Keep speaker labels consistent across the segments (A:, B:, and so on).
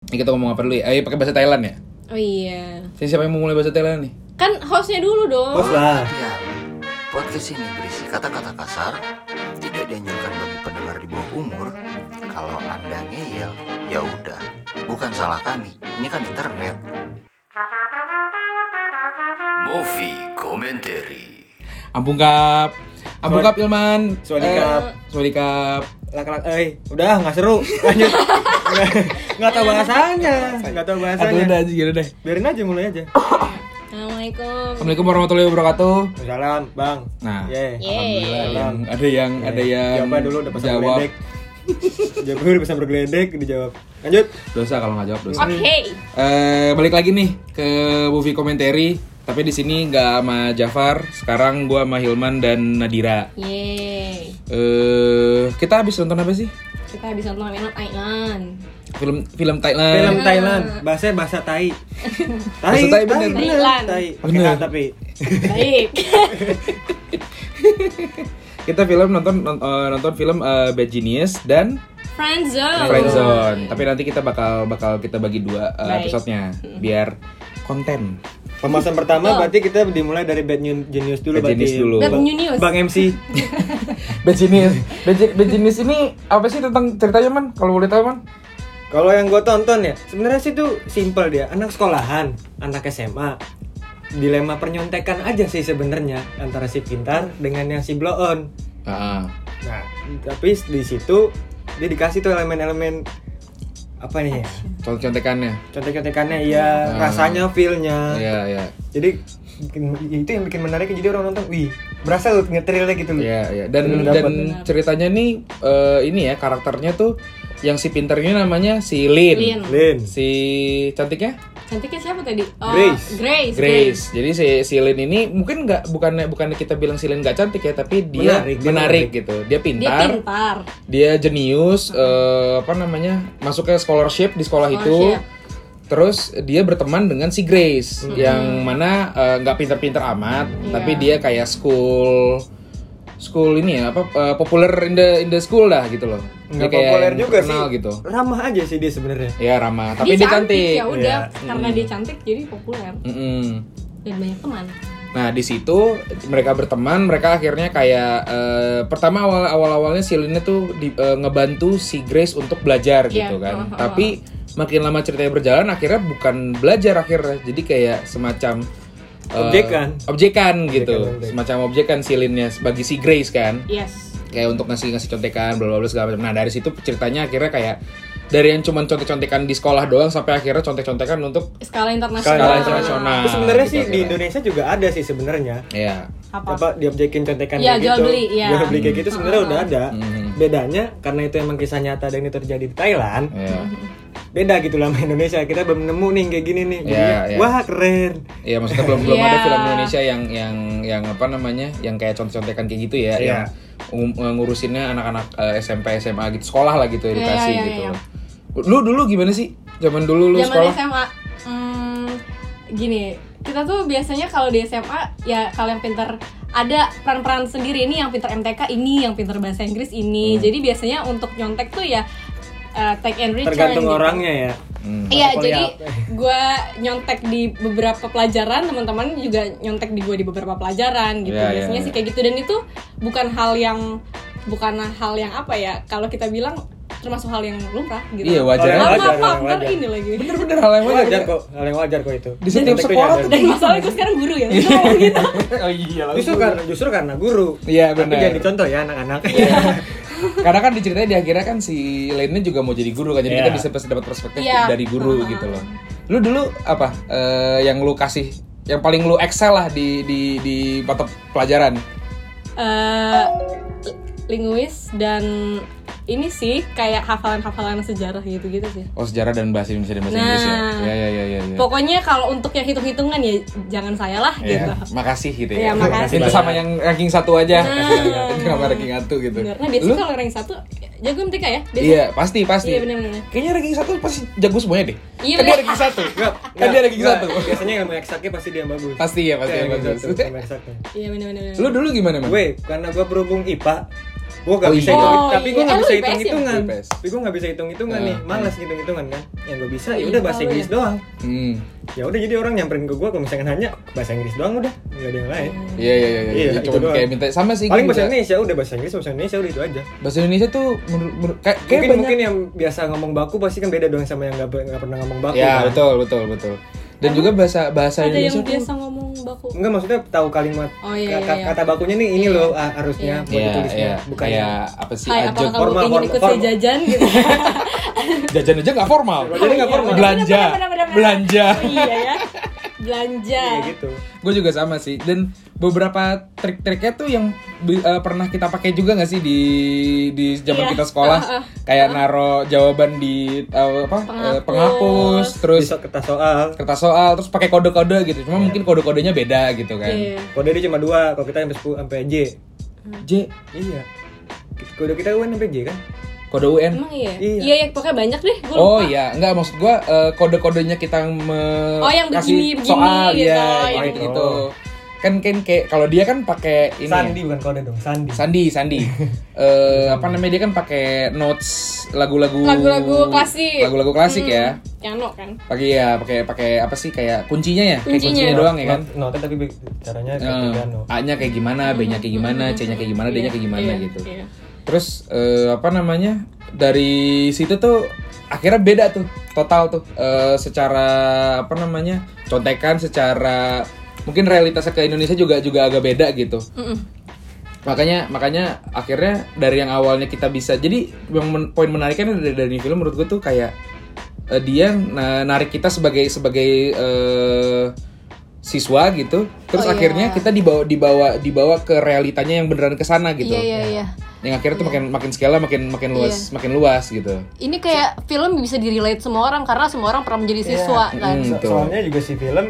A: Ini kita ngomong apa dulu ya? Ayo pakai bahasa Thailand ya.
B: Oh iya.
A: Sini siapa yang mau mulai bahasa Thailand nih?
B: Kan hostnya dulu dong.
C: Bos lah.
D: Ya, podcast ini berisi kata-kata kasar, tidak dianjurkan bagi pendengar di bawah umur. Kalau Anda ngeyel, ya udah, bukan salah kami. Ini kan internet. Movie commentary.
A: Ampun kap. Ampun kap Ilman.
C: Sawadikap.
A: Eh, Sawadikap.
C: Lak-lak, eh, udah nggak seru. Lanjut. Nggak- Nggak tahu bahasanya, nggak tahu
A: Aduh udah
C: bahasanya.
A: aja gitu deh.
C: Biarin aja mulai aja.
B: Assalamualaikum.
A: Assalamualaikum warahmatullahi wabarakatuh.
C: Salam, Bang.
A: Nah.
C: Ye.
B: Yeay.
A: Alhamdulillah ada yang
C: Salam.
A: ada yang ada yang
C: Jawaban dulu udah pesan
A: jawab.
C: bergeledek. Jawab dulu udah pesan bergeledek dijawab. Lanjut.
A: Dosa kalau nggak jawab dosa.
B: Oke.
A: Eh, balik lagi nih ke movie commentary tapi di sini nggak sama Jafar sekarang gua sama Hilman dan Nadira
B: Yeay.
A: eh kita habis nonton apa sih
B: Kita habis nonton Mainan Thailand.
A: film film Thailand
C: Film Thailand, bahasa bahasa Thai.
A: Eh. Bahasa Thai bener.
B: Thailand.
C: Thai. Pakai
A: Bener.
C: H tapi.
B: Baik.
A: kita film nonton non- eh, nonton film eh, Bad Genius dan
B: Friendzone.
A: Friendzone tapi nanti kita bakal bakal kita bagi dua eh,
B: Baik.
A: episode-nya biar konten
C: Pembahasan pertama
B: Oh.
C: berarti kita dimulai dari Bad New- Genius dulu
A: Bad
C: berarti.
A: Genius dulu.
B: Bad
C: Bang-
B: New News.
C: Bang MC.
A: Bad Genius Bad, Gen- Bad Genius ini apa sih tentang ceritanya man kalau boleh tahu man
C: Kalau yang gue tonton ya, sebenarnya sih tuh simple dia, anak sekolahan, anak SMA. Dilema pernyontekan aja sih sebenarnya antara si pintar dengan yang si blow on.
A: Ah, ah.
C: Nah, tapi di situ dia dikasih tuh elemen-elemen apa nih ya?
A: contekannya
C: Contek-contekannya iya,
A: Ah.
C: rasanya, feelnya.
A: Iya, iya.
C: Jadi bikin- itu yang bikin menariknya jadi orang nonton, wih, berasa lu ngetrilnya gitu loh.
A: Iya, iya. Dan
C: Bener
A: dan
C: dapet.
A: ceritanya nih eh, ini ya karakternya tuh yang si pinter ini namanya si Lin.
B: Lin.
C: Lin.
A: Si cantiknya
B: Cantiknya siapa tadi? Oh,
C: Grace.
B: Grace. Grace.
A: Grace. Jadi si si Lin ini mungkin nggak bukannya bukannya kita bilang si Lin nggak cantik ya, tapi dia
C: Menarik,
A: menarik,
C: dia menarik.
A: gitu. Dia
B: Dia
A: pintar.
B: pintar.
A: Dia jenius eh, apa namanya? Masuk ke scholarship di sekolah itu.
B: Scholarship.
A: Terus dia berteman dengan si Grace
C: Hmm.
A: yang mana eh, nggak pinter-pinter amat,
B: Iya.
A: tapi dia kayak school school ini ya apa eh, popular in the in the school dah gitu loh. Dia
C: Nggak
A: kayak
C: populer
A: yang
C: juga sih.
A: terkenal gitu.
C: Ramah aja sih dia sebenarnya.
A: Ya ramah, tapi dia, cantik.
B: Ya udah,
C: Iya.
B: karena dia cantik jadi populer
A: Mm-mm.
B: dan banyak teman.
A: Nah di situ mereka berteman, mereka akhirnya kayak eh, pertama awal awal awalnya si Linnya tuh di- eh, ngebantu si Grace untuk belajar
B: Iya,
A: gitu kan.
B: awal-awal.
A: Tapi makin lama ceritanya berjalan, akhirnya bukan belajar akhirnya, jadi kayak semacam eh,
C: Objekan.
A: objekan gitu,
C: Objekan, objekan.
A: semacam objekan si Linnya bagi si Grace kan.
B: Yes.
A: kayak untuk ngasih ngasih contekan bla bla bla segala macam. Nah dari situ ceritanya akhirnya kayak dari yang cuman contek-contekan di sekolah doang sampai akhirnya contek-contekan untuk
B: Skala
A: skala
B: internasional.
A: internasional.
C: Terus sebenarnya
A: gitu
C: sih di
A: akhirnya.
C: Indonesia juga ada sih sebenarnya.
A: Iya.
B: Apa?
C: Apa diobjekin
A: Ya,
C: contekan
B: Iya,
C: kayak
B: jual
C: gitu.
B: beli, iya.
C: Jual beli kayak gitu sebenarnya udah ada.
A: Mhm.
C: Bedanya karena itu emang kisah nyata dan itu terjadi di Thailand.
A: Iya.
C: Beda gitu lah sama Indonesia. Kita belum nemu nih kayak gini nih. Jadi,
A: Iya, iya.
C: wah keren.
A: Iya maksudnya belum belum ada
B: Iya.
A: film Indonesia yang yang yang apa namanya yang kayak contek-contekan kayak gitu ya
C: Iya.
A: yang ngum- ngurusinnya anak-anak eh, SMP SMA gitu sekolah lah gitu edukasi
B: iya,
A: gitu.
B: iya.
A: Lu dulu gimana sih? Zaman dulu lu
B: Zaman
A: sekolah?
B: SMA hmm, gini, kita tuh biasanya kalau di SMA ya kalau yang pinter ada peran-peran sendiri ini yang pinter MTK ini, yang pinter bahasa Inggris ini.
A: Hmm.
B: Jadi biasanya untuk nyontek tuh ya eh, take and return.
C: Tergantung
B: gitu.
C: orangnya ya.
A: Hmm.
B: Iya,
C: Atau
B: jadi
C: kuliah.
B: gue nyontek di beberapa pelajaran, teman-teman juga nyontek di gue di beberapa pelajaran gitu.
A: Iya, iya,
B: Biasanya
A: iya.
B: sih kayak gitu dan itu bukan hal yang bukan hal yang apa ya? Kalau kita bilang termasuk hal yang lumrah gitu.
A: Iya wajar.
B: Maaf,
C: Kalau yang
A: aja.
C: wajar,
B: maaf, maaf,
C: yang
B: ntar
C: wajar.
B: ini lagi.
A: Bener-bener hal yang wajar.
C: Wajar kok, hal yang wajar kok itu.
A: Di setiap
C: Tapi
A: sekolah
C: ada.
A: tuh
B: Dan masalahnya gue sekarang guru ya. terus ngomong gitu.
A: Oh iya lah.
C: Justru karena justru karena guru.
A: Iya,
C: Tapi
A: benar.
C: jadi contoh ya anak-anak.
A: Iya. Karena kan diceritanya di akhirnya kan si Lainnya juga mau jadi guru kan, jadi
C: Iya.
A: kita bisa pasti dapat perspektif
B: Iya.
A: dari guru gitu loh. Lu dulu apa eh, yang lu kasih, yang paling lu excel lah di di di mata pelajaran?
B: Eh, linguis dan ini sih kayak hafalan-hafalan sejarah gitu-gitu sih.
A: Oh sejarah dan bahasa Indonesia dan bahasa
B: Nah.
A: Inggris ya. Iya iya iya iya.
B: Pokoknya kalau untuk yang hitung-hitungan ya jangan saya lah
A: Iya.
B: gitu.
A: Makasih gitu
B: Iya,
A: ya.
B: makasih.
A: Itu sama yang ranking satu aja. Iya,
B: Nah.
A: Kenapa ranking satu gitu?
B: Bener. Nah biasanya
A: Lu?
B: kalau rank satu jago MTK ya. Biasanya.
A: Iya pasti pasti.
B: Iya benar-benar.
A: Kayaknya ranking satu pasti jago semuanya deh.
B: Iya,
A: kan dia
B: bener.
A: ranking satu.
C: Enggak,
A: kan dia ranking
C: enggak.
A: satu.
C: Biasanya ilmu eksaknya pasti dia yang bagus. gitu
A: Pasti ya pasti yang
C: Ilmu
A: bagus.
C: satu, ilmu eksaknya.
B: Iya benar-benar.
A: Lu dulu gimana man?
C: Gue karena gue berhubung IPA, Gua
A: Oh
C: gak bisa
A: iya.
C: hitung,
B: Oh
C: tapi
B: iya.
C: gua gak
B: Eh, lu
C: bisa
B: IPS ya?
C: hitung hitungan.
A: IPS.
C: Tapi gua gak bisa hitung hitungan
A: Nah.
C: nih, malas hitung hitungan kan. Yang gua bisa
B: Oh
C: ya
B: iya,
C: udah bahasa
B: kalau
C: Inggris
B: ya.
C: doang.
A: Hmm.
C: Ya udah jadi orang nyamperin ke gua kalau misalkan hanya bahasa Inggris doang udah, nggak ada yang lain.
A: Iya iya iya.
C: Iya,
A: iya.
C: itu
A: Cuma
C: doang.
A: kayak minta sama sih.
C: Paling
A: gua
C: bahasa
A: juga.
C: Indonesia udah bahasa Inggris, bahasa Indonesia udah itu aja.
A: Bahasa Indonesia tuh menurut menurut- kayak, kayak
C: mungkin
A: banyak-
C: mungkin ya. yang biasa ngomong baku pasti kan beda dong sama yang nggak pe- nggak pernah ngomong baku
A: Ya
C: kan?
A: betul betul betul. Dan juga bahasa bahasa
B: ada yang
A: Indonesia tuh
B: biasa ngomong baku
C: Enggak maksudnya tahu kalimat
B: Oh, iya,
C: kata,
B: iya, iya.
C: kata bakunya nih ini loh ah, harusnya buat
A: Iya,
C: ditulisnya
A: iya.
C: ya, bukan
A: Kayak apa sih?
B: Hai, apakah
A: ajak
B: kamu
C: formal,
B: ingin
C: formal,
B: ikut saya
C: formal.
B: jajan gitu?
A: jajan aja nggak formal.
C: Jajan nggak formal.
A: Belanja,
B: Oh, iya, Bener, bener, bener, bener.
A: belanja.
B: Oh, iya ya. Belanja.
C: Iya, gitu.
A: Gue juga sama sih. Dan beberapa trik-triknya tuh yang bi- eh, pernah kita pakai juga nggak sih di di zaman
B: Iya.
A: kita sekolah?
B: Ah, ah.
A: Kayak naro jawaban di eh, apa? eh,
B: Penghapus.
A: penghapus, terus
C: Besok kertas soal.
A: kertas soal, terus pakai kode-kode gitu.
C: Iya.
A: Cuma mungkin kode-kodenya beda gitu kan.
B: Iya.
C: Kode dia cuma dua, kalau kita sampai 10 sampai J.
A: J
C: Iya. Kode kita UN sampai J kan?
A: kode UN.
B: Emang iya?
C: Iya.
B: Iya, ya, pokoknya banyak deh. Gua lupa.
A: Oh iya, enggak maksud gua eh, kode-kodenya kita me-
B: Oh, yang
A: kasih
B: begini-begini
A: soal
B: gitu,
A: ya,
B: yang-
A: gitu gitu. Kan kan kayak kalau dia kan pakai ini ya.
C: Sandi bukan kode dong, Sandi.
A: Sandi, Sandi. Eh apa namanya dia kan pakai notes lagu-lagu
B: Lagu-lagu klasik.
A: Lagu-lagu klasik ya.
B: Piano kan.
A: Pakai ya, pakai pakai apa sih kayak kuncinya ya? Kayak
B: Kuncinya.
A: kuncinya doang ya kan.
C: Not- Notnya tapi be- caranya kayak
A: Eh,
C: piano.
A: A-nya kayak gimana, B-nya kayak gimana, C-nya kayak gimana, D-nya kayak gimana
B: Iya,
A: gitu.
B: iya.
A: Terus eh, apa namanya dari situ tuh akhirnya beda tuh total tuh Eh, secara apa namanya contekan secara mungkin realitasnya ke Indonesia juga juga agak beda gitu.
B: Mm-mm.
A: Makanya makanya akhirnya dari yang awalnya kita bisa jadi yang men- poin menariknya dari dari film menurut gue tuh kayak eh, dia na- narik kita sebagai sebagai eh, siswa gitu. Terus
B: Oh, iya.
A: akhirnya kita dibawa dibawa dibawa ke realitanya yang beneran ke sana gitu
B: Iya, iya, iya.
A: yang akhirnya tuh makin makin skala makin makin luas makin luas gitu
B: Ini kayak film bisa di-relate semua orang karena semua orang pernah menjadi siswa kan.
A: Mm.
C: So-
A: Betul.
C: soalnya juga si film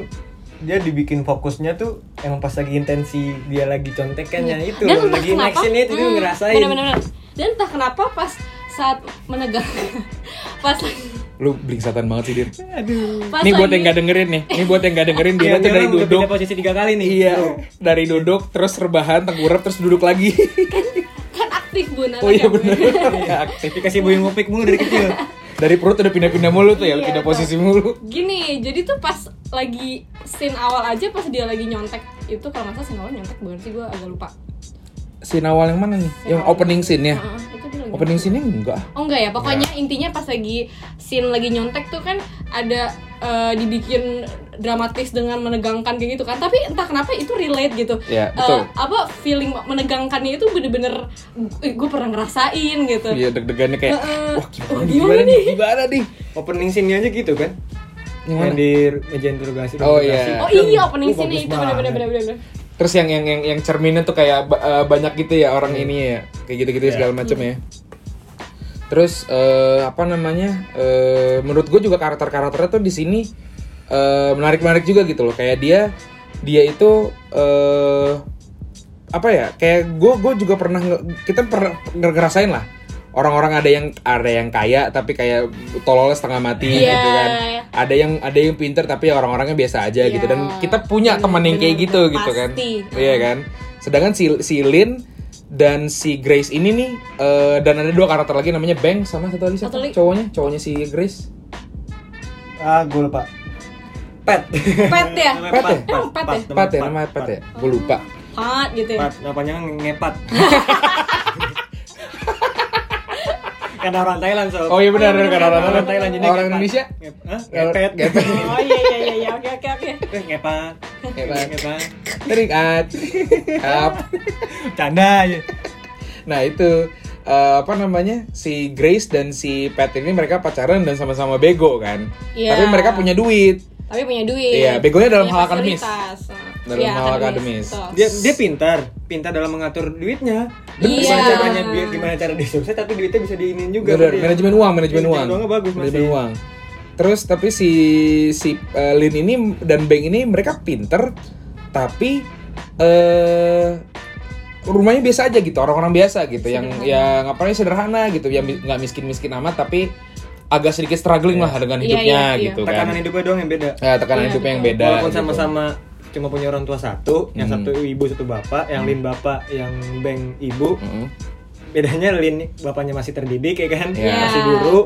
C: dia dibikin fokusnya tuh emang pas lagi intensi dia lagi contekannya itu
B: Iya. Dan entah
C: lagi
B: kenapa,
C: action itu
B: mm,
C: ngerasain
B: bener-bener, bener. Dan entah kenapa pas saat menegang pas
A: lu bling satan banget sih dir
C: aduh
B: pas
A: ini buat
B: lagi-
A: yang gak dengerin nih ini buat yang gak dengerin dia
C: Iya, Dia
A: tuh dari
C: udah
A: duduk
C: pindah posisi tiga kali nih gitu.
A: iya dari duduk terus rebahan tengkurap terus duduk lagi
B: kan aktif kan? bun
A: oh iya
B: anaknya, Bun.
A: bener Iya, aktif.
C: dikasih buyung ngupik mulu dari kecil
A: dari perut udah pindah-pindah mulu tuh ya
B: Iya,
A: pindah
B: betul.
A: posisi mulu
B: Gini, jadi tuh pas lagi scene awal aja pas dia lagi nyontek itu kalau masa scene awal nyontek bukan sih gue agak lupa.
A: scene awal yang mana nih yang opening scene ya
B: Heeh, itu dia lagi
A: opening scene nya enggak
B: Oh enggak ya, pokoknya
A: Iya.
B: intinya pas lagi scene lagi nyontek tuh kan ada eh, dibikin dramatis dengan menegangkan kayak gitu kan. Tapi entah kenapa itu relate gitu.
A: Iya,
B: Eh,
A: betul.
B: apa feeling menegangkannya itu bener-bener gue pernah ngerasain gitu.
A: dia Iya, deg-degannya kayak
B: Heeh.
A: wah gimana,
B: Wah,
A: nih,
B: gimana
A: gimana nih gimana nih
C: opening scene-nya aja gitu kan
A: Yang
C: yang
A: mana?
C: di meja interogasi
A: Oh,
C: interogasi.
A: iya.
B: Oh iya opening
C: Oh, bagus
B: scene itu
C: banget.
B: bener-bener bener-bener.
A: terus yang yang yang, yang cerminnya tuh kayak ba- eh, banyak gitu ya orang ini ya kayak gitu-gitu segala macam ya terus eh, apa namanya eh, menurut gue juga karakter-karakternya tuh di sini eh, menarik-menarik juga gitu loh kayak dia dia itu eh, apa ya kayak gue gue juga pernah nge- kita pernah nge- ngerasain lah orang-orang ada yang ada yang kaya tapi kayak tololnya setengah mati
B: Iya.
A: gitu kan ada yang ada yang pinter tapi orang-orangnya biasa aja
B: Iya.
A: gitu dan kita punya
B: Bener,
A: teman yang kayak
B: bener,
A: gitu
B: bener.
A: gitu kan
B: Pasti.
A: iya kan sedangkan si si Lin dan si Grace ini nih eh, dan ada dua karakter lagi namanya Bang sama satu lagi siapa
B: Satu lagi.
A: cowoknya cowoknya si Grace
C: ah gue lupa pet
B: Pet ya?
A: Pet ya?
B: Emang pet ya?
C: namanya
A: Pat ya namanya Pat ya gue lupa
B: Pat gitu ya.
C: pat nah, panjangnya ngepat karena orang Thailand so
A: oh iya benar benar karena orang
C: orang Thailand jadi
A: orang
C: ngepat.
A: Indonesia
C: Ngep- Hah? ngepet
A: Ngepet.
B: Oh iya iya iya iya oke oke oke.
C: Eh, ngepat
A: Ngepat.
C: ngepat
A: terikat up
C: canda ya. aja
A: nah itu eh, apa namanya si Grace dan si Pat ini mereka pacaran dan sama-sama bego kan
B: Iya.
A: tapi mereka punya duit
B: Tapi punya duit.
A: Iya, begonya dalam
B: Punya
A: hal akademis.
B: fasilitas.
A: Dalam
B: Iya,
A: hal akademis.
B: betul.
C: dia dia pintar pintar dalam mengatur duitnya
B: Bener.
C: gimana
B: Iya.
C: caranya dia- gimana cara dia sukses tapi duitnya bisa diinin juga
A: Bener,
C: ke dia.
A: manajemen uang, manajemen uang.
C: Iya, uangnya bagus
A: Manajemen
C: masih.
A: uang. Terus tapi si si eh, Lin ini dan Bang ini mereka pinter tapi eh rumahnya biasa aja gitu, orang-orang biasa gitu yang yang apa namanya sederhana gitu, yang mi- nggak miskin-miskin amat tapi agak sedikit struggling lah dengan
B: Iya,
A: hidupnya
B: iya, iya.
A: gitu kan.
C: tekanan hidupnya doang yang beda
A: Ya, tekanan hidupnya yang beda.
C: walaupun
A: gitu.
C: sama-sama cuma punya orang tua satu yang
A: Hmm.
C: satu ibu satu bapak yang lin bapak yang beng ibu
A: Mm-mm.
C: bedanya Lin bapaknya masih terdidik ya kan
A: Iya.
C: masih guru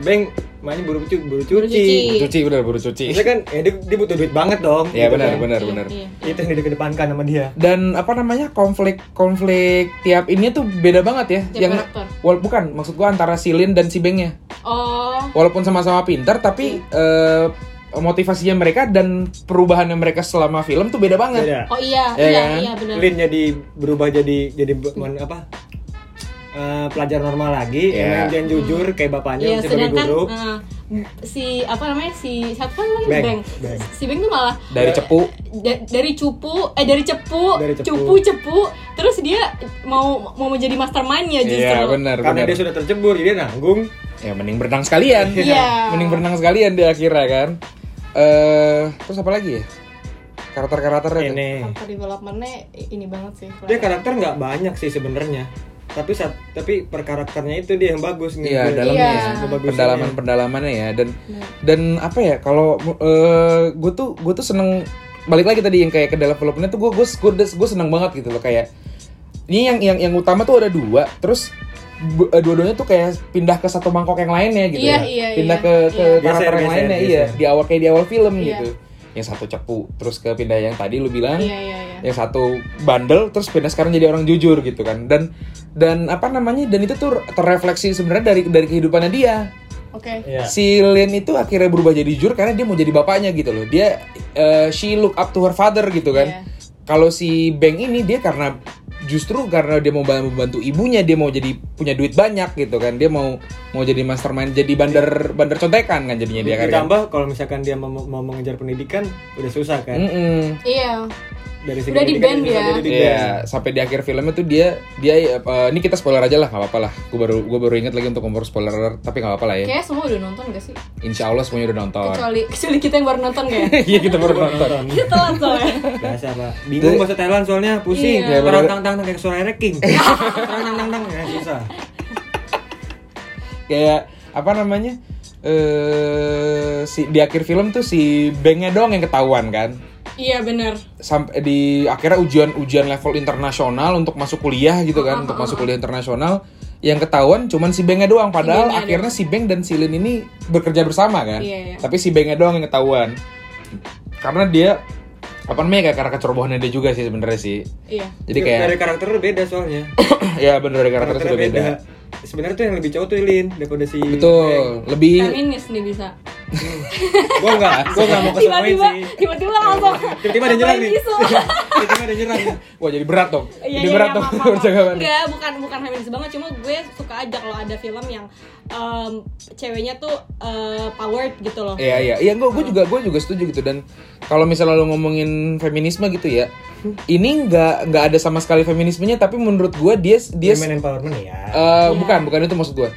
C: Beng maknya buru cuci buru cuci,
B: Buru cuci.
A: Cuci bener buru cuci.
C: Maksudnya kan ya dia, dia butuh duit banget dong
A: Ya
C: gitu
A: benar
C: kan.
A: benar benar.
B: Iya.
C: itu yang dikedepankan sama dia
A: Dan apa namanya konflik konflik tiap ini tuh beda banget ya.
B: Tiap karakter.
A: wal bukan maksud gua antara si Lin dan si Bengnya.
B: Oh,
A: Walaupun sama-sama pintar tapi
B: Iya.
A: eh, motivasinya mereka dan perubahannya mereka selama film tuh beda banget.
C: Beda.
B: oh iya,
A: Iya
B: iya,
A: kan?
B: iya benar.
C: Lin jadi berubah jadi jadi be- mon- apa eh, pelajar normal lagi
A: Iya.
C: yang yang jujur kayak bapaknya
B: Iya,
C: masih sebagai
B: sedangkan
C: guru
B: eh, si apa namanya si siapa kan namanya
C: Bang.
B: Bang.
C: Bang.
B: Si Bang tuh malah
C: Iya.
A: Dari cepu
B: da- dari cupu eh dari cepu,
C: Dari cepu.
B: cupu cepu terus dia mau mau menjadi mastermindnya justru.
A: Iya benar
C: karena
A: benar.
C: dia sudah tercebur jadi dia nanggung
A: Ya mending berenang sekalian.
B: Iya.
A: Mending berenang sekalian di akhirnya kan. Eh terus apa lagi ya? Karakter-karakternya tuh.
C: ini
B: Karakter developmentnya ini banget sih.
C: dia kan? karakter nggak banyak sih sebenarnya tapi saat tapi per karakternya itu dia yang bagus nih
A: Iya,
C: Gue-
A: dalamnya
B: Iya.
A: ya.
C: Kebagusannya.
A: pendalaman-pendalamannya ya dan dan apa ya kalau eh gue tuh gue tuh seneng balik lagi tadi yang kayak ke dalam developmentnya tuh gue gue gue seneng banget gitu loh kayak ini yang yang yang utama tuh ada dua terus bu- eh, dua-duanya tuh kayak pindah ke satu mangkok yang lainnya gitu
B: Iya,
A: ya
B: iya,
A: pindah
B: iya,
A: ke ke
B: iya.
A: karakter
C: Geser,
A: yang
C: geser,
A: lainnya iya
C: geser.
A: di awal kayak di awal film
B: Iya.
A: gitu yang satu cepu terus ke pindah yang tadi lu bilang
B: Iya iya iya.
A: yang satu bandel terus pindah sekarang jadi orang jujur gitu kan dan dan apa namanya dan itu tuh terrefleksi sebenarnya dari dari kehidupannya dia
B: Oke.
C: Iya.
A: si Lin itu akhirnya berubah jadi jujur karena dia mau jadi bapaknya gitu loh dia eh, she look up to her father gitu kan
B: Iya.
A: kalau si Bang ini dia karena justru karena dia mau ba- membantu ibunya dia mau jadi punya duit banyak gitu kan dia mau mau jadi mastermind jadi bandar bandar contekan kan jadinya dia kan
C: ditambah kalau misalkan dia mau, mau mengejar pendidikan udah susah
A: Hmm.
C: kan
A: Mm-mm.
B: Iya.
C: dari segi
B: Udah di ya?
C: pendidikan
B: band
C: susah
B: dia.
C: jadi di band.
A: Iya, sampai di akhir filmnya tuh dia dia eh, ini kita spoiler aja lah, nggak apa-apa lah. Gue baru gue baru inget lagi untuk ngomong spoiler, tapi nggak apa-apa lah ya.
B: Kayaknya semua udah nonton gak sih?
A: Insya Allah semuanya udah nonton.
B: Kecuali kecuali kita yang baru nonton gak ya?
A: Iya kita baru nonton.
B: Kita telat soalnya.
C: biasa pak bingung bahasa Thailand soalnya pusing
A: Iya.
C: terang tang tang tang kayak suara King terang tang tang tang ya susah
A: Kayak apa namanya? Eh si di akhir film tuh si Bengnya doang yang ketahuan kan.
B: Iya benar.
A: Sampai di akhirnya ujian ujian level internasional untuk masuk kuliah gitu kan, untuk masuk kuliah internasional yang ketahuan cuman si Bengnya doang padahal
B: Bengnya
A: akhirnya si Beng dan si Lin ini bekerja bersama kan.
B: Iya, iya.
A: Tapi si Bengnya doang yang ketahuan. Karena dia apa namanya kayak karena kecerobohannya dia juga sih sebenarnya sih.
B: Iya.
A: Jadi kayak
C: dari karakter beda soalnya
A: ya bener dari karakternya sudah beda.
C: sebenarnya tuh yang lebih cowok tuh Lin daripada si
A: Betul,
C: Iya.
A: lebih
B: Feminis nih bisa.
C: gue nggak gue nggak Iya, mau kesemuain
B: Tiba-tiba
C: sih
B: tiba-tiba langsung.
C: tiba-tiba ada nyerang nih
B: feminis.
C: tiba-tiba ada nyerang
A: wah jadi berat dong.
B: Iya,
A: jadi
B: iya,
A: berat
B: iya,
A: dong
B: maaf, maaf.
A: percakapan.
B: Enggak, bukan bukan feminis banget, cuma gue suka aja kalau ada film yang em, ceweknya tuh eh, powered gitu loh.
A: Iya iya iya gue juga gue juga setuju gitu dan kalau misalnya lo ngomongin feminisme gitu ya ini nggak nggak ada sama sekali feminismenya tapi menurut gue dia dia
C: dia main empowerment ya
A: eh,
B: Iya.
A: bukan bukan itu maksud gue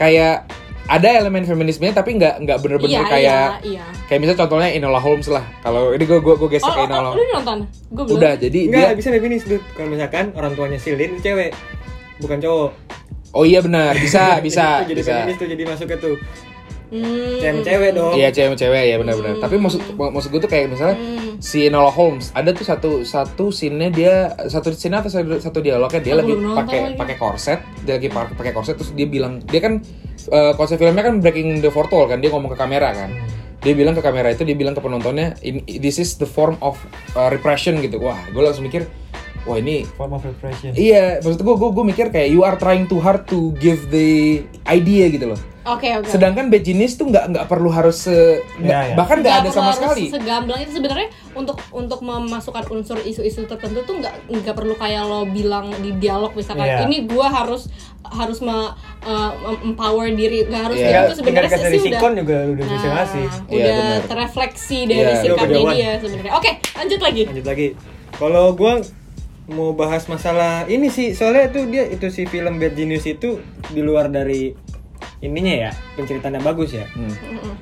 A: kayak ada elemen feminismenya tapi nggak nggak
B: iya,
A: bener-bener
B: iya,
A: kayak
B: iya.
A: kayak misalnya contohnya Enola Holmes lah kalau ini gue gue gue
B: Oh,
A: gesek ke Enola
B: oh, lu nonton? Gue belum.
A: udah jadi dia
C: Enggak, bisa feminis Dut. Kalau misalkan orang tuanya si Lin itu cewek, bukan cowok.
A: oh iya benar bisa bisa
C: Itu jadi
A: bisa
C: feminis tuh jadi masuknya tuh.
B: Hmm.
C: Cewek-cewek dong.
A: Iya cewek-cewek ya benar-benar. Tapi maksud maksud gue tuh kayak misalnya
B: Hmm.
A: si Enola Holmes ada tuh satu satu scene-nya dia satu scene atau satu, satu dialognya dia
B: Aku
A: lagi
B: belum nonton
A: pakai
B: lagi.
A: pakai korset, dia lagi pa- pakai korset terus dia bilang dia kan eh, konsep filmnya kan breaking the fourth wall kan dia ngomong ke kamera kan.
B: Hmm.
A: Dia bilang ke kamera itu dia bilang ke penontonnya "In- this is the form of uh, repression gitu. Wah, gue langsung mikir wah ini
C: Form of repression.
A: Iya, maksud gue, gue, gue mikir kayak you are trying too hard to give the idea gitu loh.
B: Oke, oke.
A: Sedangkan bad genius tuh nggak nggak perlu harus se- nggak-
C: ya.
A: bahkan nggak ada
B: perlu
A: sama
B: harus
A: sekali.
B: Segamblang itu sebenarnya untuk untuk memasukkan unsur isu-isu tertentu tuh nggak nggak perlu kayak lo bilang di dialog misalkan
C: Iya.
B: ini gua harus harus me, eh, empower diri nggak harus
A: Iya.
B: gitu. itu
C: Tinggal
B: sebenarnya
C: kasih dari
B: sih udah
C: sikon juga udah bisa
B: Nah,
C: ngasih.
A: Iya,
B: udah
A: benar.
B: terefleksi dari
A: Iya.
B: sikapnya
C: Udah Iya.
B: dia sebenarnya. Oke, lanjut lagi.
C: Lanjut lagi. Kalau gua mau bahas masalah ini sih soalnya tuh dia itu si film Bad Genius itu di luar dari ininya ya penceritaannya bagus ya
A: Hmm.
B: Mm-mm.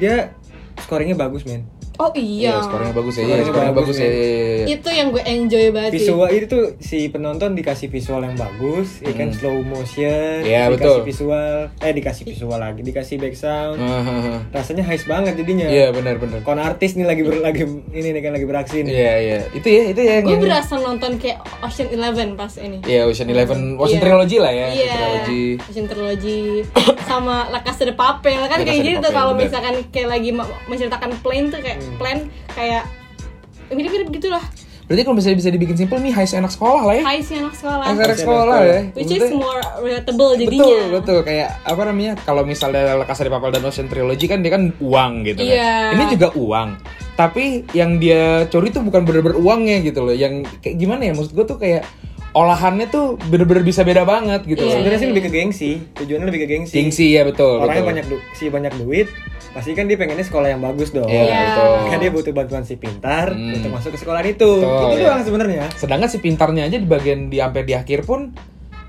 C: dia scoringnya bagus men
B: Oh iya.
A: skornya bagus ya. Iya, skornya
C: Skornya
A: bagus
C: bagus
A: ya.
C: nih.
A: Iya, iya, iya.
B: Itu yang gue enjoy banget sih.
C: visual itu si penonton dikasih visual yang bagus, ya kan
A: Hmm.
C: slow motion,
A: Iya,
C: dikasih
A: betul.
C: visual, eh dikasih visual lagi, dikasih back sound,
A: Ah, ah, ah.
C: rasanya high banget jadinya.
A: Iya, benar benar.
C: Kon artis nih lagi ber, lagi ini nih kan lagi beraksi nih.
A: Iya, iya. Itu ya, itu ya. yang-
B: Gue berasa nonton kayak Ocean Eleven pas ini.
A: Iya, Ocean Eleven, Ocean
B: Iya.
A: Trilogy lah ya, Ocean
B: Iya,
A: Trilogy.
B: Ocean Trilogy sama La Casa de Papel kan
A: La Casa de
B: kayak gitu tuh
A: Papel,
B: kalau
A: bener.
B: misalkan kayak lagi ma- menceritakan plane tuh kayak
C: Hmm.
B: plan kayak mirip-mirip gitulah
A: Berarti kalau misalnya bisa dibikin simpel nih high enak sekolah lah
C: Eh?
A: ya.
B: highs anak sekolah
A: High anak sekolah ya.
B: which is
A: Maksudnya-
B: more relatable jadinya
A: Betul, betul. Kayak apa namanya? Kalau misalnya La Casa de Papel dan Ocean Trilogy kan dia kan uang gitu kan.
B: Iya.
A: Ini juga uang. Tapi yang dia curi tuh bukan bener-bener uangnya gitu loh. Yang kayak gimana ya? Maksud gue tuh kayak olahannya tuh bener-bener bisa beda banget gitu
B: Iya,
A: loh.
C: Sebenarnya sih
B: iya.
C: lebih ke gengsi, tujuannya lebih ke gengsi.
A: Gengsi ya betul.
C: Orangnya
A: betul.
C: banyak du- si banyak duit, pasti kan dia pengennya sekolah yang bagus dong.
A: Iya,
B: Iya.
A: betul.
C: Kan dia butuh bantuan si pintar
A: Hmm.
C: untuk masuk ke sekolah itu.
A: Betul,
C: itu
A: iya.
C: doang sebenarnya.
A: Sedangkan si pintarnya aja di bagian di sampai di akhir pun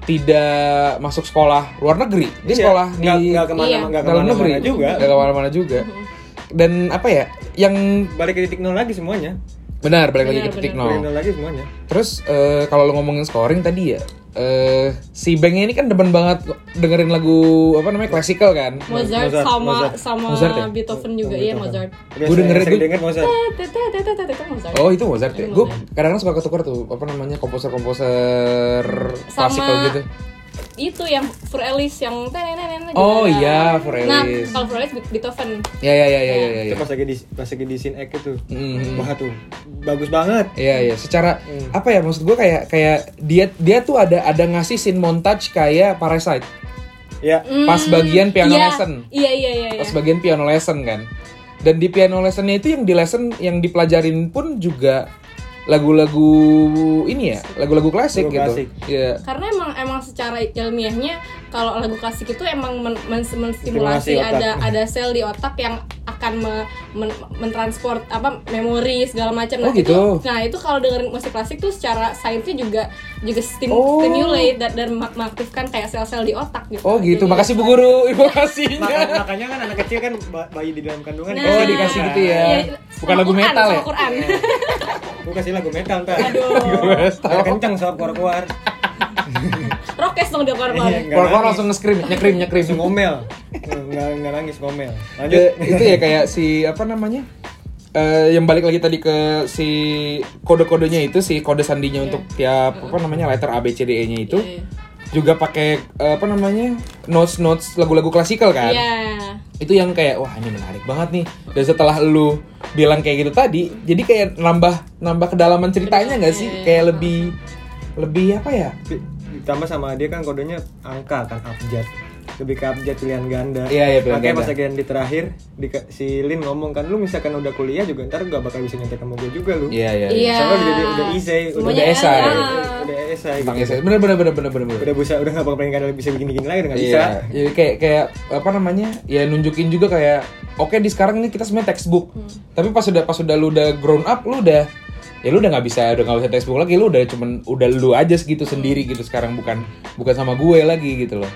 A: tidak masuk sekolah luar negeri. Dia
C: Iya,
A: sekolah di
C: nggak nggak kemana
B: Iya.
C: nggak
A: dalam
C: kemana
A: negeri
C: juga.
A: Nggak kemana-mana juga. Dan apa ya? Yang
C: Balik ke titik nol lagi semuanya.
A: benar balik lagi
B: Benar,
A: ke titik
B: Iya, benar.
A: nol.
C: Balik nol lagi semuanya.
A: Terus eh, kalau lo ngomongin scoring tadi ya, eh, si Bengnya ini kan demen banget dengerin lagu apa namanya klasikal kan.
B: Mozart,
C: Mozart,
B: sama
C: Mozart.
B: sama
A: Mozart ya?
B: Beethoven juga iya Mozart
C: Biasa
A: Gua ya, dengerin,
C: yang sering
A: gua-
C: denger Mozart.
B: Tetetetetetet, Mozart
A: Oh itu Mozart ya.
B: Itu
A: Gue
B: Mozart.
A: kadang-kadang suka ketukar tuh apa namanya komposer-komposer
B: Sama-
A: klasikal gitu.
B: itu yang Fur Elise yang tenenenen juga
A: Oh
B: ada.
A: iya, Fur
B: nah
A: Elise.
B: kalau Fur Elise Be- Beethoven
A: Ya ya ya ya ya. ya,
C: Itu
A: ya.
B: Eh.
C: pas lagi di pas lagi di scene act itu.
A: Mhm.
C: Wah tuh bagus banget.
A: Iya iya, secara
C: Hmm.
A: apa ya maksud gue kayak kayak dia dia tuh ada ada ngasih scene montage kayak Parasite.
C: Ya.
B: Mm.
A: Pas bagian piano
B: iya,
A: lesson.
B: iya iya iya, iya.
A: pas bagian piano lesson kan dan di piano lessonnya itu yang di lesson yang dipelajarin pun juga lagu-lagu ini ya lagu-lagu klasik
C: Lagu
A: gitu
C: klasik.
A: ya
B: karena emang emang secara ilmiahnya kalau lagu klasik itu emang men- men-
C: Stimulasi
B: menstimulasi
C: otak.
B: ada ada sel di otak yang akan me- men- mentransport apa memori segala macam
A: Oh, gitu.
B: itu nah itu kalau dengerin musik klasik tuh secara sainsnya juga juga stim-
A: Oh.
B: stimulate dan, dan mak- mengaktifkan kayak sel-sel di otak gitu
A: oh gitu
B: Jadi-
A: makasih bu guru
C: Maka-
A: informasinya
C: makanya kan anak kecil kan ba- bayi di dalam kandungan.
B: Nah,
A: Oh, dikasih gitu ya.
B: iya,
A: Bukan
B: sama
A: lagu
B: Quran,
A: metal
B: sama
A: ya?
B: Quran.
A: Nah.
C: Gue kasih lagu metal ntar.
B: Aduh,
C: Biar kenceng sob keluar-keluar.
B: rokes dong dia keluar-keluar.
C: Iya, nggak
A: kalau
C: nangis.
A: langsung nge-scream nyekrim nyekrim
C: langsung ngomel. Enggak enggak nangis ngomel. Lanjut.
A: Ya, itu ya kayak si apa namanya eh, yang balik lagi tadi ke si kode-kodenya itu si kode sandinya untuk tiap apa namanya letter A B C D E nya itu
B: Iya.
A: juga pakai eh, apa namanya notes notes lagu-lagu klasikal kan
B: Iya.
A: itu yang kayak wah ini menarik banget nih dan setelah lu bilang kayak gitu tadi jadi kayak nambah nambah kedalaman ceritanya nggak
B: Iya.
A: sih kayak lebih lebih apa ya
C: Di- Ditambah sama dia kan kodenya angka kan abjad. Lebih ke abjad pilihan ganda.
A: Iya, iya, pilihan
C: Makanya pas
A: ganda.
C: lagi yang di terakhir di, si Lin ngomong kan lu misalkan udah kuliah juga ntar gak bakal bisa nyantai sama gue juga lu.
A: iya iya
B: Iya.
C: Soalnya udah jadi- udah isai, udah gitu.
B: Semuanya
A: esai.
B: enak. Ah.
C: Udah esai.
A: tentang
C: gitu.
A: saya ya, bener bener bener bener bener bener
C: Udah bisa udah gak bakal pengen gak bisa bikin-bikin lagi udah gak bisa.
A: Iya, jadi kayak kayak apa namanya? Ya nunjukin juga kayak oke di sekarang ini kita sebenarnya textbook.
B: Hmm.
A: Tapi pas udah pas udah lu udah grown up, lu udah ya lu udah nggak bisa udah nggak bisa textbook lagi, lu udah cuman udah lu aja segitu sendiri gitu sekarang bukan bukan sama gue lagi gitu loh.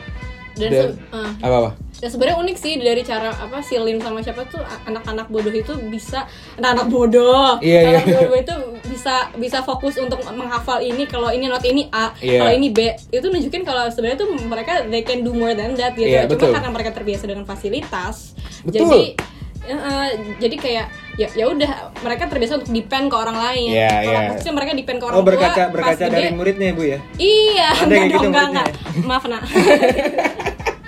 B: Dan
A: Dan-
B: se- eh,
A: Apa apa?
B: Dan sebenarnya unik sih dari cara apa si Lin sama siapa tuh a- anak-anak bodoh itu bisa anak-anak bodoh.
A: Iya,
B: anak
A: iya.
B: bodoh itu bisa bisa fokus untuk menghafal ini kalau ini not ini A,
A: Iya.
B: kalau ini B. Itu nunjukin kalau sebenarnya tuh mereka they can do more than that gitu.
A: Iya, betul.
B: Cuma karena mereka terbiasa dengan fasilitas.
A: Betul.
B: Jadi eh, eh, jadi kayak ya ya udah mereka terbiasa untuk depend ke orang lain.
A: Iya,
B: Kalau
A: iya.
B: kecil mereka depend ke orang
C: Oh berkaca
B: tua, pas
C: berkaca
B: gede-
C: dari muridnya ibu ya.
B: Iya,
C: Ada
B: enggak
C: kayak gitu
B: dong, enggak,
C: muridnya
B: enggak. Maaf, Nak.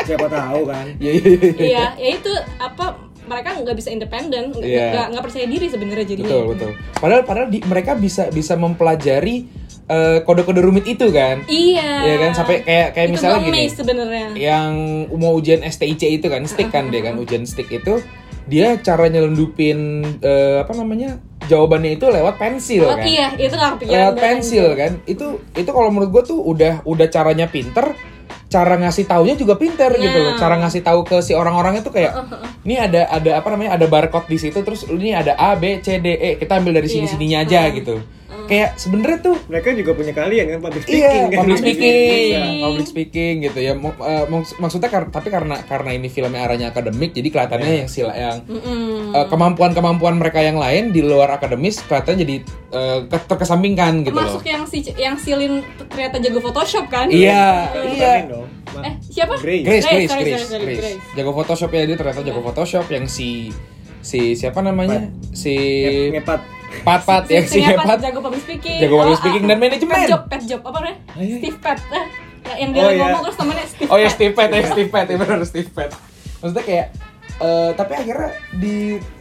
C: Siapa tahu kan.
A: Iya iya iya.
B: iya ya itu apa mereka nggak bisa independen nggak
A: Iya.
B: nggak- nggak percaya diri sebenarnya jadinya
A: betul betul padahal padahal di- mereka bisa bisa mempelajari eh, kode-kode rumit itu kan
B: iya
A: Iya kan sampai kayak kayak
B: itu
A: misalnya
B: gua
A: gini Iya,
B: amazed sebenarnya
A: yang mau ujian STIC itu kan stick kan dia kan ujian stick itu dia cara nyelundupin eh, apa namanya jawabannya itu lewat pensil
B: Oh,
A: kan
B: iya itu nggak kepikiran
A: lewat
B: gua
A: pensil kan itu itu kalau menurut gue tuh udah udah caranya pinter cara ngasih taunya juga pinter gitu loh
B: Nah.
A: cara ngasih tahu ke si orang-orangnya tuh kayak ini ada ada apa namanya ada barcode di situ terus ini ada A B C D E kita ambil dari sini
B: Iya.
A: sininya aja gitu kayak sebenernya tuh
C: Mereka juga punya kalian kan public speaking
A: Iya,
C: kan.
A: public speaking,
C: Iya.
A: public speaking gitu ya. Mo- eh, maks- maksudnya kar- tapi karena karena ini filmnya arahnya akademik, jadi kelihatannya yang sila yang eh, kemampuan-kemampuan mereka yang lain di luar akademis kelihatannya jadi eh, ke- terkesampingkan gitu loh.
B: Masuk yang si yang silin ternyata jago Photoshop kan?
A: Iya,
C: Bukain
A: iya.
C: dong. Ma-
B: Eh, siapa?
C: Grace.
A: Grace, Grace,
B: Grace, sorry,
A: Grace,
B: sorry, sorry,
A: Grace.
B: Grace.
A: Iya.
B: Iya.
A: Jago Photoshop ya dia ternyata jago Photoshop yang si si siapa namanya? Si
C: Ngep- Ngepat.
A: Pat-Pat yang si
B: Ternyata
A: hebat.
B: jago public speaking.
A: Jago public
B: Oh,
A: speaking
B: ah,
A: dan manajemen.
B: Pet job, pet job apa namanya?
A: Ah, iya.
B: Steve Pet. Eh, yang dia
C: Oh,
B: lagi
C: iya.
B: ngomong terus temennya Steve
A: Oh ya
B: Pet.
A: Steve Pett, ya Steve Pett, ya benar Steve Pett. Maksudnya kayak eh, tapi akhirnya di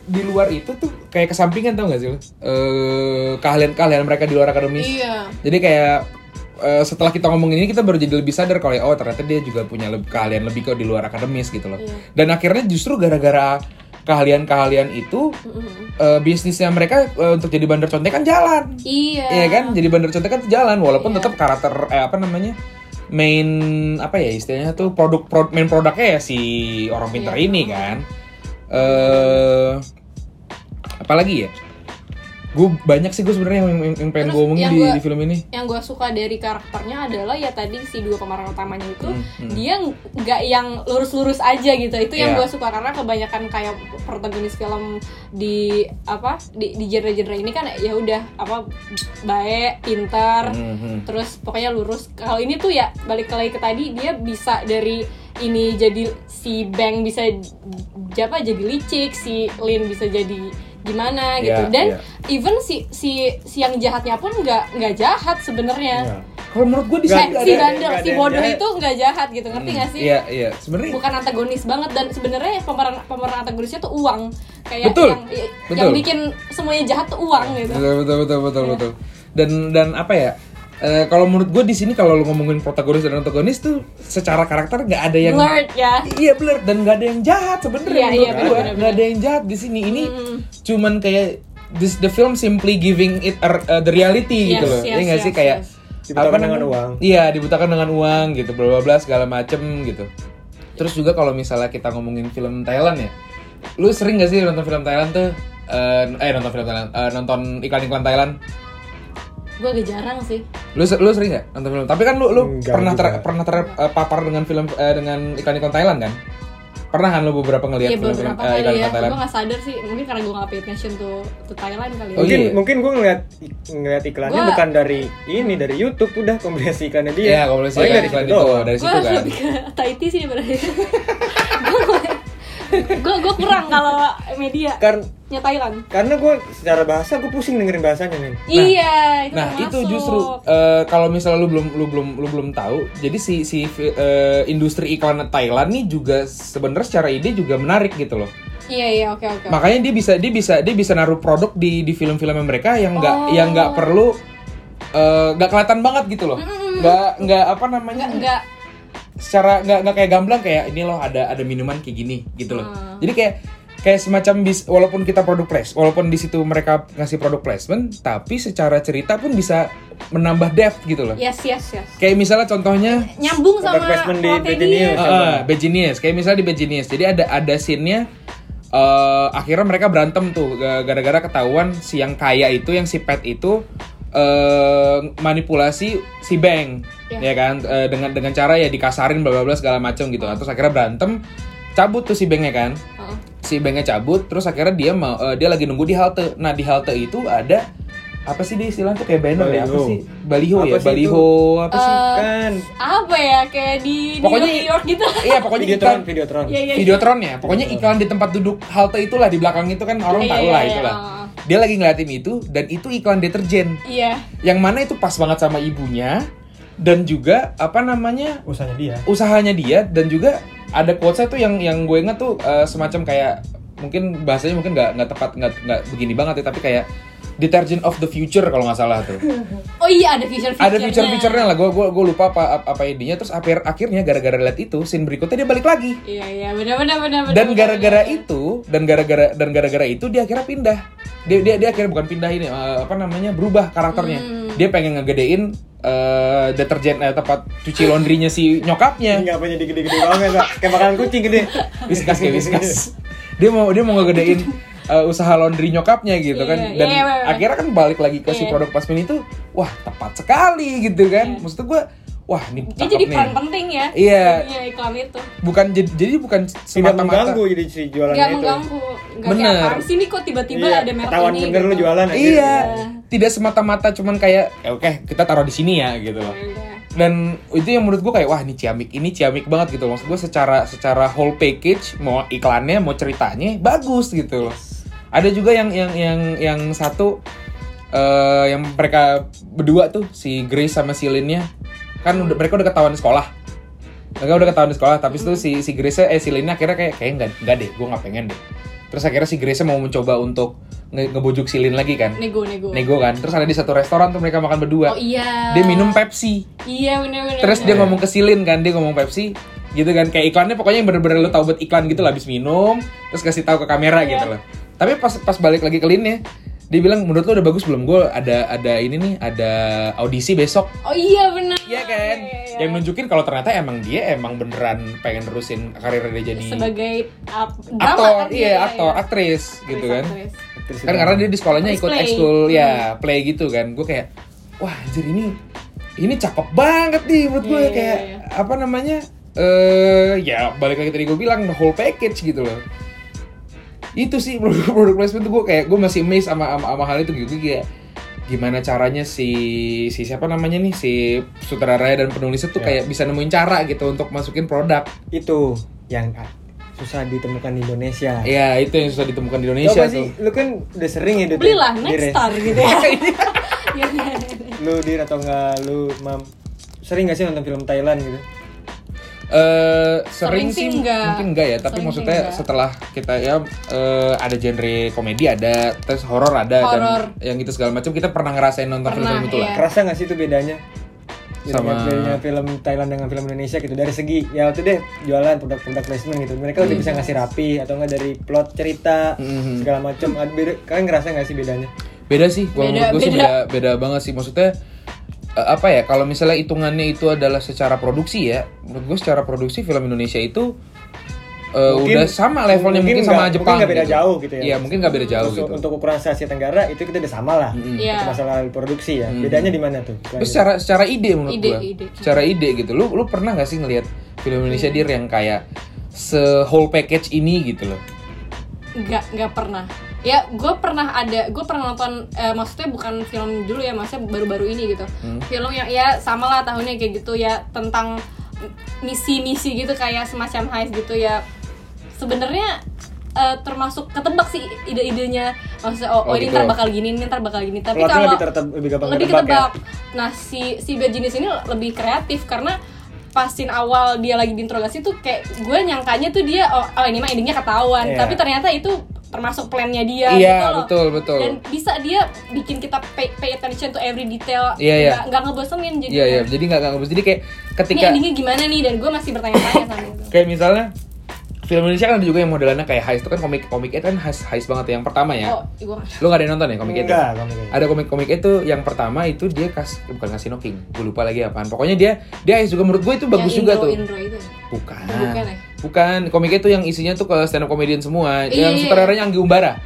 A: di luar itu tuh kayak kesampingan tau gak sih lo? Eh, keahlian-keahlian mereka di luar akademis.
B: Iya.
A: Jadi kayak eh, setelah kita ngomong ini kita baru jadi lebih sadar kalau ya, oh ternyata dia juga punya lebih, keahlian lebih kok di luar akademis gitu loh.
B: Iya.
A: Dan akhirnya justru gara-gara keahlian-keahlian itu
B: Hmm.
A: eh, bisnisnya mereka eh, untuk jadi bandar contekan jalan.
B: Iya.
A: Iya kan, jadi bandar contekan tuh jalan walaupun
B: Iya.
A: tetap karakter eh, apa namanya main apa ya istilahnya tuh produk pro- main produknya ya si orang pintar
B: Iya.
A: ini kan. Eh apalagi ya? Gue banyak sih gue sebenarnya yang, yang, yang pengen gue
B: Terus
A: omongin
B: yang
A: di,
B: gua-
A: di film ini.
B: Yang gue suka dari karakternya adalah ya tadi si dua pemeran utamanya itu
A: Hmm, hmm.
B: dia nggak yang lurus-lurus aja gitu. Itu yang
A: Iya.
B: gue suka karena kebanyakan kayak protagonis film di apa di, di genre-genre ini kan ya udah apa baik, pintar,
A: Hmm, hmm.
B: terus pokoknya lurus kalau ini tuh ya balik lagi ke tadi dia bisa dari ini jadi si Bang bisa j- apa jadi licik si Lin bisa jadi gimana gitu
A: Iya,
B: dan
A: iya.
B: even si si si yang jahatnya pun nggak nggak jahat sebenarnya
A: Kalau menurut gue di
B: Eh,
C: Nggak,
A: sini
C: nggak
B: si
C: ada-
B: bandel
C: nggak
B: si
C: ada yang
B: bodoh
C: jahat.
B: itu nggak jahat gitu ngerti nggak sih
A: Iya, iya. Sebenarnya
B: bukan antagonis banget dan sebenarnya pemeran pemeran antagonisnya tuh uang kayak
A: Betul.
B: yang i-
A: Betul.
B: yang bikin semuanya jahat tuh uang gitu
A: betul betul betul betul, betul. dan dan apa ya eh, kalau menurut gue di sini kalau lo ngomongin protagonis dan antagonis tuh secara karakter nggak ada yang
B: blurred ya
A: Iya blur dan nggak ada yang jahat sebenarnya
B: Iya,
A: menurut
B: iya,
A: gua.
B: benar-benar.
A: nggak ada yang jahat di sini ini
B: Mm.
A: cuman kayak this the film simply giving it a- a- the reality gitu
B: Yes,
A: loh
B: yes,
A: Iya nggak sih
B: yes,
A: kayak
B: yes.
C: Dibutakan
A: apa
C: dengan
A: namanya?
C: uang.
A: iya dibutakan dengan uang gitu bla bla bla segala macem gitu terus juga kalau misalnya kita ngomongin film Thailand ya lu sering gak sih nonton film Thailand tuh eh eh, nonton film Thailand eh, nonton iklan iklan Thailand
B: gue agak jarang sih
A: lu se- lu sering gak nonton film tapi kan lu lu
C: Enggak
A: pernah ter-
C: juga.
A: pernah terpapar dengan film eh, dengan iklan-iklan Thailand kan pernah kan lu beberapa ngelihat
B: Iya
A: film-film
B: beberapa
A: eh,
B: kali ya,
A: iklan-iklan Thailand
B: gue gak sadar sih, mungkin karena gue gak pay attention tuh to Thailand kali ya
A: Oh,
C: mungkin
A: iya.
C: mungkin gue ngeliat ngeliat iklannya
B: Gua-
C: bukan dari ini dari YouTube udah kombinasi iklannya dia.
A: Iya, kalau sih
C: Paling
A: iklan
C: dari
A: iklan
C: Oh, situ
A: itu
C: doang.
A: dari
B: Gue
A: situ kan.
B: lebih ke Tahiti sih daripada Gue gue kurang kalau media
C: Kar-
B: nya Thailand
C: karena gue secara bahasa gue pusing dengerin bahasanya nih.
B: Iya, itu
A: Nah,
B: nggak
A: itu
B: masuk.
A: justru eh, kalau misalnya lu belum lu belum lu belum tahu, jadi si si eh, industri iklan Thailand nih juga sebenarnya secara ide juga menarik gitu loh.
B: Iya iya oke oke
A: Makanya dia bisa dia bisa dia bisa naruh produk di di film-film mereka yang nggak
B: Oh.
A: yang nggak perlu eh, nggak kelihatan banget gitu loh. Nggak nggak apa namanya?
B: Nggak nggak
A: secara nggak nggak kayak gamblang kayak ini loh ada ada minuman kayak gini gitu loh. Jadi kayak kayak semacam bis, walaupun kita produk place, walaupun di situ mereka ngasih produk placement, tapi secara cerita pun bisa menambah depth gitu loh.
B: yes yes yes
A: Kayak misalnya contohnya
B: Nyambung sama
C: Product placement di
B: Protein
C: PT News.
A: Ah,
C: Coba.
A: ah, Bad Genius. Kayak misalnya di Bad Genius. Jadi ada ada scene-nya eh, akhirnya mereka berantem tuh ga- gara-gara ketahuan si yang kaya itu yang si Pet itu eh manipulasi si Bang. Ya kan Eh, dengan dengan cara ya dikasarin bla bla bla segala macam gitu. Terus akhirnya berantem cabut tuh si Bangnya kan.
B: Heeh.
A: Si Bangnya cabut terus akhirnya dia mau eh, dia lagi nunggu di halte. Nah, di halte itu ada apa sih dia istilahnya tuh kayak banner ya apa
C: Baliho.
A: sih? Baliho
C: Apa
A: ya,
C: sih itu?
A: baliho apa sih?
B: Eh,
C: Kan
B: Apa ya, kayak di New
A: Pokoknya-
B: York, New York gitu
A: Iya, pokoknya
C: videotron
A: iklan-
C: videotron.
B: Iya iya iya
A: Videotron ya, pokoknya iklan di tempat duduk halte itulah di belakang itu kan orang
B: Iya,
A: tahu
B: iya,
A: lah
B: iya,
A: itulah.
B: iya.
A: Dia lagi ngeliatin itu dan itu iklan deterjen
B: Iya
A: yang mana itu pas banget sama ibunya dan juga apa namanya
C: Usahanya dia.
A: usahanya dia dan juga ada quotes tuh yang yang gue inget tuh eh, semacam kayak mungkin bahasanya mungkin nggak nggak tepat nggak nggak begini banget ya tapi kayak detergent of the future kalau nggak salah tuh
B: Oh iya ada feature-feature
A: ada feature-featurenya lah gue gue gue lupa apa apa idenya terus akhir akhirnya gara-gara liat itu scene berikutnya dia balik lagi
B: Iya iya benar-benar benar-benar
A: dan gara-gara itu dan gara-gara dan gara-gara itu dia akhirnya pindah dia dia dia akhirnya bukan pindah ini eh, apa namanya berubah karakternya
B: Hmm.
A: dia pengen ngegedein eh, deterjen eh, tempat cuci laundrynya si nyokapnya
B: Iya.
A: ya,
C: Enggak punya gede-gede banget, Pak. Kayak makanan kucing gede.
A: Whiskas kayak whiskas dia mau dia mau ngegedein eh, usaha laundry nyokapnya gitu kan
B: Iya,
A: dan
B: iya, iya, iya.
A: akhirnya kan balik lagi ke si
B: Iya.
A: produk pasmin itu wah tepat sekali gitu kan
B: Iya.
A: maksud gue wah ini
B: Dia
A: cakep
B: jadi
A: nih
B: peran penting ya.
A: Iya.
B: Iya, iklan itu.
A: bukan jadi, jadi bukan
C: tidak
A: semata-mata
C: mengganggu jadi si jualan
B: Gak
C: itu
B: mengganggu. Gak kayak
A: Bener.
B: apaan sih nih kok tiba-tiba
C: Iya,
B: ada merek
C: ketahuan
B: ini.
C: bener lu
B: gitu.
C: jualan aja
A: iya tidak semata-mata cuman kayak "Ya, oke kita taruh di sini ya gitu loh
B: Iya.
A: dan itu yang menurut gue kayak wah ini ciamik ini ciamik banget gitu loh. maksud gue secara secara whole package mau iklannya mau ceritanya bagus gitu loh ada juga yang yang yang yang satu eh yang mereka berdua tuh si Grace sama si Lin-nya kan udah mereka udah ketahuan di sekolah mereka udah ketahuan di sekolah tapi itu si si Grace eh si Lin-nya akhirnya kayak kayak nggak nggak deh gue nggak pengen deh terus akhirnya si Grace mau mencoba untuk nge- ngebujuk si Lin lagi kan
B: Nego, nego.
A: nego kan terus ada di satu restoran tuh mereka makan berdua
B: Oh iya.
A: dia minum Pepsi
B: Iya bener-bener.
A: Terus dia ngomong ke Silin kan, dia ngomong Pepsi gitu kan kayak iklannya pokoknya yang bener-bener lo tau buat iklan gitu lah habis minum terus kasih tahu ke kamera
B: Iya.
A: gitu loh tapi pas pas balik lagi ke Linnya dia bilang menurut lo udah bagus belum gue ada ada ini nih ada audisi besok
B: Oh iya bener.
A: Iya kan yang nunjukin kalau ternyata emang dia emang beneran pengen nerusin karirnya dia jadi
B: sebagai ap- drama
A: aktor
B: kan dia,
A: iya
B: ya.
A: aktor aktris gitu kan
B: Aktris.
C: Terus
A: kan karena dia di sekolahnya ikut
B: Display.
A: ekskul
B: Hmm.
A: ya play gitu kan gue kayak wah anjir ini ini cakep banget nih menurut gue
B: Iya, iya,
A: kayak
B: iya.
A: apa namanya eh ya balik lagi tadi gue bilang the whole package gitu loh itu sih produk, produk placement tuh gue kayak gue masih amazed sama, sama sama hal itu gitu kayak gimana caranya si si siapa namanya nih si sutradaranya dan penulisnya tuh
C: Iya.
A: kayak bisa nemuin cara gitu untuk masukin produk
C: itu yang ah, susah ditemukan di Indonesia
A: ya itu yang susah ditemukan di Indonesia
C: Coba sih,
A: tuh
C: lu kan udah sering ya Dut,
B: Belilah
C: di
B: next
C: res-
B: star gitu ya. Iya, iya, iya.
C: Lu dir atau enggak lu mam sering gak sih nonton film Thailand gitu?
A: eh sering,
B: Sering sih
A: sih
B: enggak.
A: mungkin enggak ya tapi
B: Sering sih
A: maksudnya
B: enggak.
A: setelah kita ya eh, ada genre komedi ada terus horor ada
B: Horor.
A: dan yang gitu segala macam kita pernah ngerasain nonton
B: Pernah,
A: film-film itu lah
B: iya.
C: Kerasa gak sih itu bedanya? Bedanya,
A: Sama-
C: bedanya film Thailand dengan film Indonesia gitu dari segi ya itu deh jualan produk-produk placement gitu mereka
A: Hmm.
C: udah bisa ngasih rapi atau enggak dari plot cerita
A: Mhm.
C: segala macam Ada beda- kalian ngerasa gak sih bedanya
A: beda sih kalau
B: Beda,
A: menurut gue sih
B: beda.
A: beda beda banget sih maksudnya eh, apa ya kalau misalnya hitungannya itu adalah secara produksi ya menurut gue secara produksi film Indonesia itu eh,
C: Mungkin-
A: udah sama levelnya mungkin,
C: mungkin
A: sama
C: nggak-
A: Jepang
C: mungkin nggak beda
A: gitu.
C: jauh gitu ya.
A: iya mungkin nggak beda jauh
C: Untuk-
A: gitu
C: untuk ukuran Asia Tenggara itu kita udah sama lah
A: Mm-mm.
B: Iya.
C: Untuk masalah produksi ya bedanya di mana tuh
A: Terus Hmm. secara secara ide menurut
B: Ide,
A: gua.
B: ide.
A: Secara ide gitu. Lu lu pernah nggak sih ngelihat film Indonesia dir yang kayak se whole package ini gitu loh.
B: Nggak, nggak pernah. Ya, gue pernah ada, gue pernah nonton, eh, maksudnya bukan film dulu ya, maksudnya baru-baru ini gitu.
A: Hmm.
B: Film yang ya sama lah tahunnya kayak gitu ya tentang misi-misi gitu kayak semacam heist gitu ya. Sebenarnya eh, termasuk ketebak sih ide-idenya. Maksudnya oh,
A: Oh,
B: oh, ini
A: gitu.
B: ntar bakal gini, ini ntar bakal gini. Tapi
C: Plotnya
B: kalau
C: lebih, terteb- lebih gampang
B: lebih
C: ketebak ya
B: ketebak. Nah, si si Bad Genius ini lebih kreatif karena pasin awal dia lagi diinterogasi tuh kayak gue nyangkanya tuh dia oh, oh, ini mah endingnya ketahuan,
C: Iya.
B: tapi ternyata itu termasuk plannya
A: iya,
B: dia gitu loh.
A: betul, betul.
B: Dan bisa dia bikin kita pay, pay attention to every detail,
A: Iya, iya.
B: nggak nggak ngebosenin jadi.
A: Iya, iya. Jadi nggak nggak jadi kayak
B: Ini
A: ketika
B: endingnya gimana nih dan gue masih bertanya-tanya sama itu.
A: kayak misalnya film Indonesia kan ada juga yang modelannya kayak heist itu kan komik komik itu kan heist, heist banget ya. yang pertama ya.
B: Oh, gue
A: Lu nggak ada yang nonton ya komik itu?
C: enggak gitu. kamu kayak-
A: Ada komik-komik itu yang pertama itu dia kas bukan Casino King, gue lupa lagi apaan. Pokoknya dia dia heist juga menurut gue itu bagus juga tuh.
B: Intro itu.
A: Bukan.
B: Bukan
A: Bukan,
B: ya?
A: komiknya tuh yang isinya tuh ke stand up comedian semua.
B: Iya,
A: yang
B: iya,
A: sutradaranya Anggi Umbara.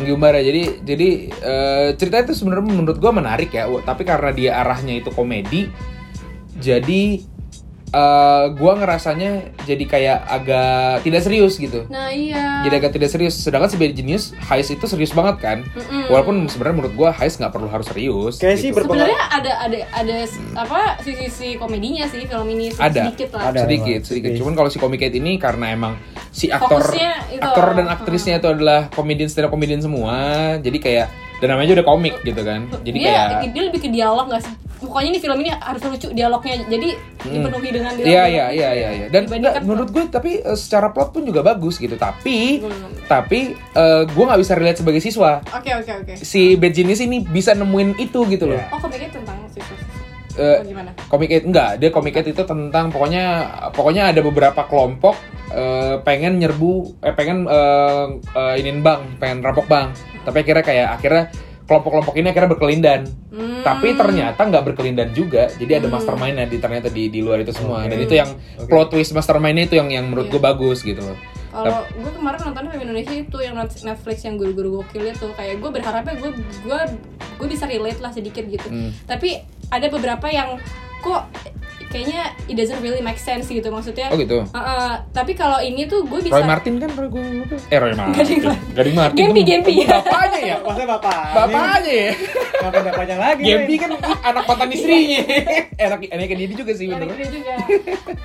A: Anggi Umbara. Jadi jadi eh, ceritanya tuh sebenarnya menurut gua menarik ya, Wa- tapi karena dia arahnya itu komedi jadi eh, gua ngerasanya jadi kayak agak tidak serius gitu.
B: Nah iya.
A: Jadi agak tidak serius. Sedangkan si Bad Genius Heist itu serius banget kan.
B: Mm-mm.
A: Walaupun sebenarnya menurut gua Heist nggak perlu harus serius. gitu.
C: Kayak sih berpengaruh-
B: Sebenarnya ada ada ada s- apa sisi-sisi komedinya sih film ini
A: Ada.
B: sedikit lah.
C: Ada.
A: sedikit
C: emang,
A: sedikit
C: sedikit.
A: cuman kalau si Comicate ini karena emang si aktor
B: Fokusnya itu.
A: aktor dan aktrisnya itu adalah komedian stand up komedian semua jadi kayak dan namanya juga udah komik gitu kan jadi
B: dia,
A: kayak
B: dia Iya, lebih ke dialog nggak sih? Pokoknya ini film ini harus lucu dialognya. Jadi dipenuhi dengan dialog.
A: Hmm. Iya iya iya iya iya. Dan
B: gitu ya. Dibandingkan
A: enggak, menurut gue tapi eh, secara plot pun juga bagus gitu. Tapi
B: Gue belum.
A: tapi eh, gue nggak bisa relate sebagai siswa.
B: Oke oke oke.
A: Si Bad Genius ini bisa nemuin itu gitu loh.
C: Iya.
B: Oh komiknya tentang siswa.
A: Eh,
B: gimana?
A: Comic Aid enggak, dia Comic Aid itu tentang pokoknya pokoknya ada beberapa kelompok eh, pengen nyerbu eh pengen eh, eh, inin bank, pengen rampok bank. Tapi akhirnya kayak akhirnya kelompok-kelompok ini akhirnya berkelindan.
B: Hmm.
A: Tapi ternyata nggak berkelindan juga. Jadi ada mastermind-nya di ternyata di di luar itu semua. Dan
C: Oke.
A: itu yang
C: Oke.
A: plot twist mastermind-nya itu yang yang menurut
B: Iya.
A: gue bagus gitu loh.
B: Kalau gue kemarin nonton film Indonesia itu yang Net- Netflix yang guru-guru gokil itu kayak gue berharapnya gue gue gue bisa relate lah sedikit gitu.
A: Hmm.
B: Tapi ada beberapa yang kok kayaknya it doesn't really make sense gitu maksudnya.
A: Oh gitu.
B: Heeh, tapi kalau ini tuh gue bisa
A: Roy Martin kan Roy gue eh Roy Martin.
B: Gading
A: Gading,
B: Martin.
A: Martin.
B: Gempi,
A: tuh.
B: Gempi.
A: Bapaknya ya.
C: Masa bapak?
A: Bapaknya ya.
C: Ngapain bapaknya lagi?
A: Gempi kan anak mantan istrinya. Eh, Enak enaknya dia juga sih
B: Ya,
A: bener.
B: negeri juga.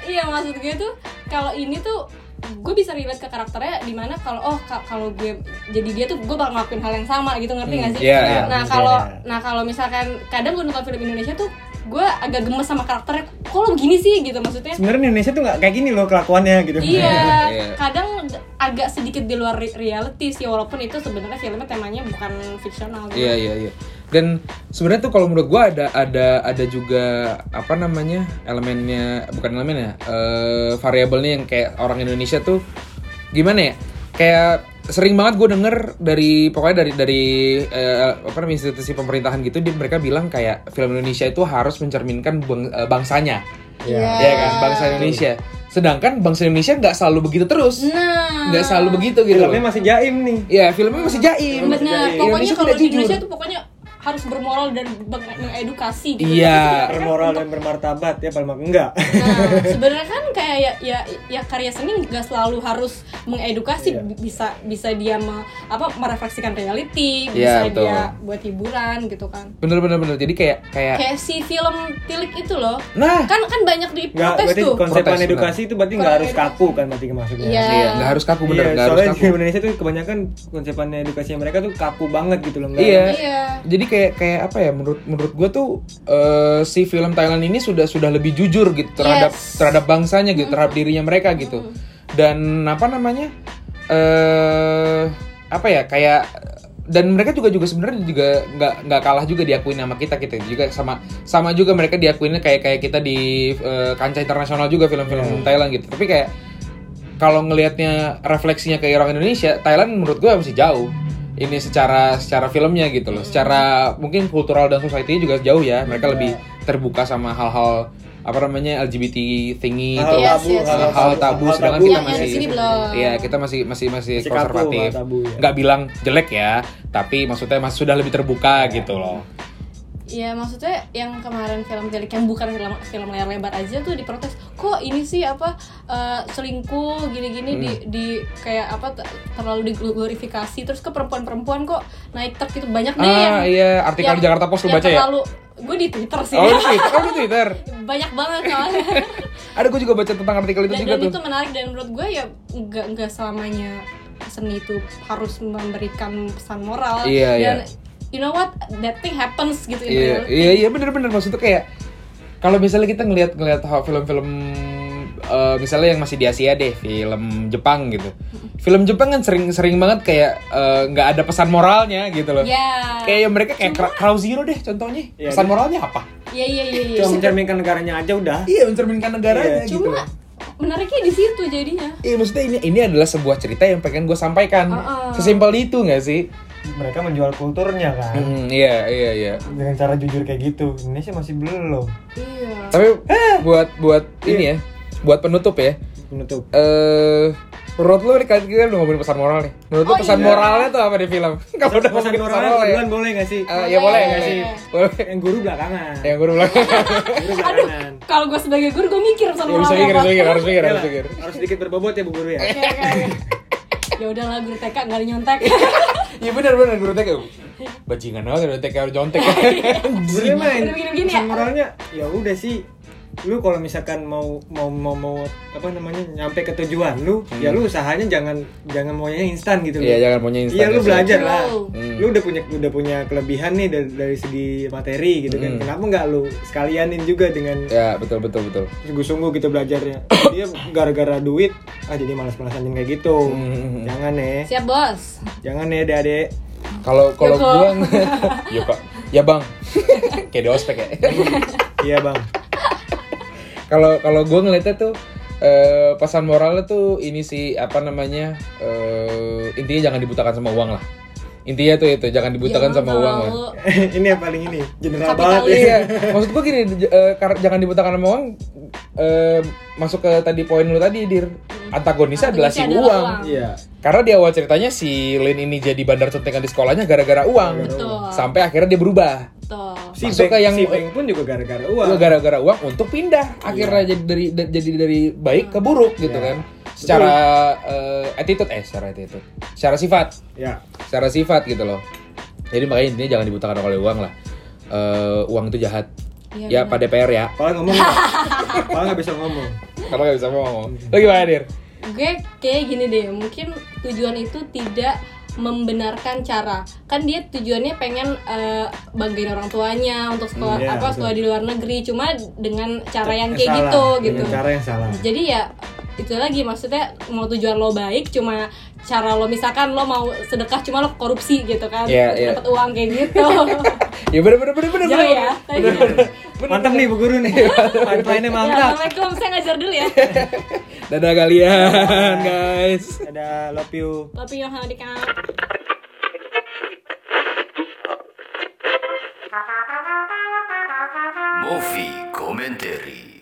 B: iya maksud gue tuh kalau ini tuh gue bisa relate ke karakternya di mana kalau oh ka- kalau gue jadi dia tuh gue bakal ngelakuin hal yang sama gitu ngerti nggak sih?
A: iya, iya.
B: nah kalau
C: Iya.
B: nah kalau misalkan kadang gue nonton film Indonesia tuh gue agak gemes sama karakternya kok lo begini sih gitu maksudnya
C: Sebenarnya Indonesia tuh nggak kayak gini loh kelakuannya gitu.
B: Iya,
A: Iya.
B: kadang agak sedikit di luar re- reality sih walaupun itu sebenarnya filmnya temanya bukan fiksional. gitu.
A: Iya iya iya. Dan sebenarnya tuh kalau menurut gua ada ada ada juga apa namanya elemennya bukan elemennya eh variabelnya yang kayak orang Indonesia tuh gimana ya kayak sering banget gue denger dari pokoknya dari dari eh, apa namanya institusi pemerintahan gitu dia, mereka bilang kayak film Indonesia itu harus mencerminkan bang- eh, bangsanya
C: Iya.
A: ya kan bangsa Indonesia sedangkan bangsa Indonesia nggak selalu begitu terus
B: Nah,
A: nggak selalu begitu gitu
C: Filmnya
A: loh
C: masih Iya, jaim nih.
A: ya filmnya masih jaim
B: benar.
A: Indonesia
B: iya, Pokoknya
A: tidak
B: kalau di
A: jujur.
B: Indonesia tuh pokoknya harus bermoral dan meng- mengedukasi gitu.
A: Iya.
C: Bermoral dan bermartabat ya paling enggak.
B: Nah, sebenarnya kan kayak ya, ya ya karya seni nggak selalu harus mengedukasi
C: Iya.
B: bi- bisa bisa dia me- apa merefleksikan reality,
A: Iya,
B: bisa
A: betul. Iya.
B: dia buat hiburan gitu kan.
A: bener bener bener jadi kayak kayak
B: Kayak si film Tilik itu loh.
A: nah
B: Kan kan banyak
C: Enggak,
B: diprotes
C: berarti
B: tuh.
C: konsepan
A: Protes,
C: edukasi itu berarti nggak
B: Kurang
C: harus
B: edukasi.
C: kaku kan berarti masuknya.
B: Iya.
A: iya nggak harus kaku bener
C: Iya,
A: nggak harus
C: soalnya
A: kaku
C: di Indonesia tuh kebanyakan konsepan edukasinya mereka tuh kaku banget gitu loh. nggak-
A: Iya.
B: Iya.
A: jadi kayak kayak apa ya menurut menurut gue tuh eh, si film Thailand ini sudah sudah lebih jujur gitu terhadap
B: Yes.
A: terhadap bangsanya gitu terhadap dirinya mereka gitu dan apa namanya eh apa ya kayak dan mereka juga juga sebenarnya juga nggak nggak kalah juga diakui nama kita kita juga sama sama juga mereka diakuinnya kayak kayak kita di eh, kancah internasional juga film-film Thailand gitu tapi kayak kalau ngelihatnya refleksinya ke orang Indonesia, Thailand menurut gue masih jauh. Ini secara secara filmnya gitu loh, secara mungkin kultural dan society juga jauh ya. Mereka
B: Iya.
A: lebih terbuka sama hal-hal apa namanya LGBT thingy itu,
C: Hal
B: Yes,
C: tabu,
B: yes,
A: hal,
B: yes.
A: hal tabu. Sedangkan
B: tabu.
A: kita
B: Yang- yang
A: masih,
B: di sini belum.
A: iya kita masih masih masih
C: Masih kaku,
A: konservatif.
C: hal tabu, ya.
A: Nggak bilang jelek ya, tapi maksudnya mas sudah lebih terbuka gitu loh.
B: Iya maksudnya yang kemarin film Tilik yang bukan film film layar lebar aja tuh diprotes kok ini sih apa eh, selingkuh gini-gini di
A: Hmm.
B: di kayak apa te- terlalu diglorifikasi terus ke perempuan-perempuan kok naik ter gitu banyak nih yang
A: Ah iya artikel
B: yang-
A: di Jakarta Post lu
B: yang
A: baca ya?
B: terlalu, Gue di Twitter sih.
A: Oh di Twitter, oh, di Twitter.
B: banyak banget soalnya.
A: Ada gue juga baca tentang artikel itu
B: dan,
A: juga
B: dan
A: tuh.
B: itu menarik dan menurut gue ya nggak nggak selamanya seni itu harus memberikan pesan moral
A: Iya,
B: dan
A: iya.
B: you know what that thing happens gitu in
A: Iya,
B: reality.
A: iya, iya bener-bener maksudnya kayak kalau misalnya kita ngelihat ngelihat hal- film-film eh, misalnya yang masih di Asia deh, film Jepang gitu. Film Jepang kan sering-sering banget kayak eh, nggak ada pesan moralnya gitu loh.
B: Ya.
A: Kayak yang mereka kayak Cra- Crow Zero deh contohnya.
C: Iya,
A: pesan
C: dia-
A: moralnya apa?
B: Iya iya iya iya.
C: Cuma mencerminkan negaranya aja udah.
A: Iya, mencerminkan negaranya
C: Iya,
A: gitu.
B: Cuma menariknya di situ jadinya.
A: Iya, maksudnya ini ini adalah sebuah cerita yang pengen gue sampaikan.
B: Uh-uh.
A: Sesimpel itu nggak sih?
C: Mereka menjual kulturnya kan.
A: Hmm, iya, iya, iya.
C: Dengan cara jujur kayak gitu. Indonesia masih belum.
B: Iya.
A: Tapi buat buat ini ya, buat penutup ya.
C: Penutup.
A: eh menurut lu nih kan kita udah ngomongin pesan moral nih. Menurut lu
B: Oh,
A: pesan
B: iya.
A: moralnya tuh apa di film? Kamu udah
C: Pesan
A: ngomongin pesan
C: moralnya
A: moral ya?
C: duluan boleh nggak sih?
A: Eh, ya boleh,
B: Boleh.
A: boleh. Boleh.
C: Yang guru belakangan.
A: Ya gue bilang.
C: Guru
B: Aduh,
C: belakangan.
B: kalau gue sebagai guru gue mikir
A: Ya,
B: sama Iya,
A: bisa
B: orang
A: mikir,
B: apa.
A: bisa mikir, harus mikir, harus
C: Yalah,
A: mikir.
C: harus sedikit berbobot ya Bu Guru ya.
B: Oke, oke, oke. Ya udahlah guru TK nggak ada nyontek.
A: Iya benar benar guru TK. Bajingan banget guru TK harus jontek.
C: Sebenarnya mah
B: Gini, gini, gini
C: pesan
B: ya?
C: moralnya ya udah sih lu kalau misalkan mau mau mau mau apa namanya nyampe ke tujuan lu ya lu usahanya jangan jangan maunya instan gitu loh.
A: Hmm. Iya, jangan maunya instan,
C: Iya lu
A: ya,
C: belajar lah.
B: Wow.
A: Hmm.
C: Lu udah punya udah punya kelebihan nih dari, dari segi materi gitu kan.
A: Hmm.
C: Kenapa nggak lu sekalianin juga dengan
A: Ya betul betul betul.
C: sungguh-sungguh gitu belajarnya. Dia gara-gara duit ah jadi malas-malasan kayak gitu.
A: Hmm.
C: Jangan ya.
B: Siap bos.
C: Jangan ya Adik-adik
A: Kalau kalau
B: Yoko.
A: gua ya Pak. Ya Bang. Kayak di ospek ya.
C: Iya, Bang.
A: Kalau kalau gua ngeliatnya tuh eh, pesan moralnya tuh ini sih apa namanya eh, intinya jangan dibutakan sama uang lah intinya tuh itu jangan dibutakan
B: Jangan
A: sama uang ya. lah
B: terlalu-
C: ini yang paling ini general
B: Kapitalis.
C: banget ya.
A: iya maksud gua gini j- eh, kar- jangan dibutakan sama uang eh, masuk ke tadi poin lu tadi dir antagonisnya adalah si
B: Antagonisnya
A: uang.
B: adalah uang.
C: Iya.
A: Karena di awal ceritanya si Lin ini jadi bandar contekan di sekolahnya gara-gara uang.
B: Betul.
A: Sampai akhirnya dia berubah.
B: Betul.
C: Si
A: Masuk
C: Beng,
A: ke yang-
C: si Beng pun juga gara-gara uang.
A: Dia gara-gara uang untuk pindah. Akhirnya jadi dari da- jadi dari baik ke buruk gitu
C: Iya.
A: kan. Secara eh, attitude eh secara attitude. Secara sifat.
C: Ya.
A: secara sifat gitu loh. Jadi makanya intinya jangan dibutakan oleh uang lah. Eh, uang itu jahat. ya
B: Iya,
A: pada PR ya.
C: Pala ngomong. nggak? Pala nggak bisa ngomong.
A: Kalau nggak bisa ngomong. Lo gimana dir?
B: Gue kayak gini deh, mungkin tujuan itu tidak membenarkan cara kan dia tujuannya pengen eh, banggain orang tuanya untuk sekolah
C: Hmm, iya,
B: apa
C: betul.
B: sekolah di luar negeri cuma dengan cara yang
C: Eh,
B: kayak
C: salah.
B: gitu
C: Dengan
B: gitu
C: Cara yang salah.
B: jadi ya itu lagi maksudnya mau tujuan lo baik cuma cara lo misalkan lo mau sedekah cuma lo korupsi gitu kan
A: Iya,
B: terus
A: iya.
B: dapat uang kayak gitu
A: Ya bener bener bener bener.
B: jauh
A: bener.
B: ya tapi bener.
C: Mantap nih bu guru nih. Pipeline-nya
B: ya
C: mantap.
B: assalamualaikum saya ngajar dulu ya
A: Dadah kalian guys.
C: Ada love you
B: tapi yang di
D: Movie Commentary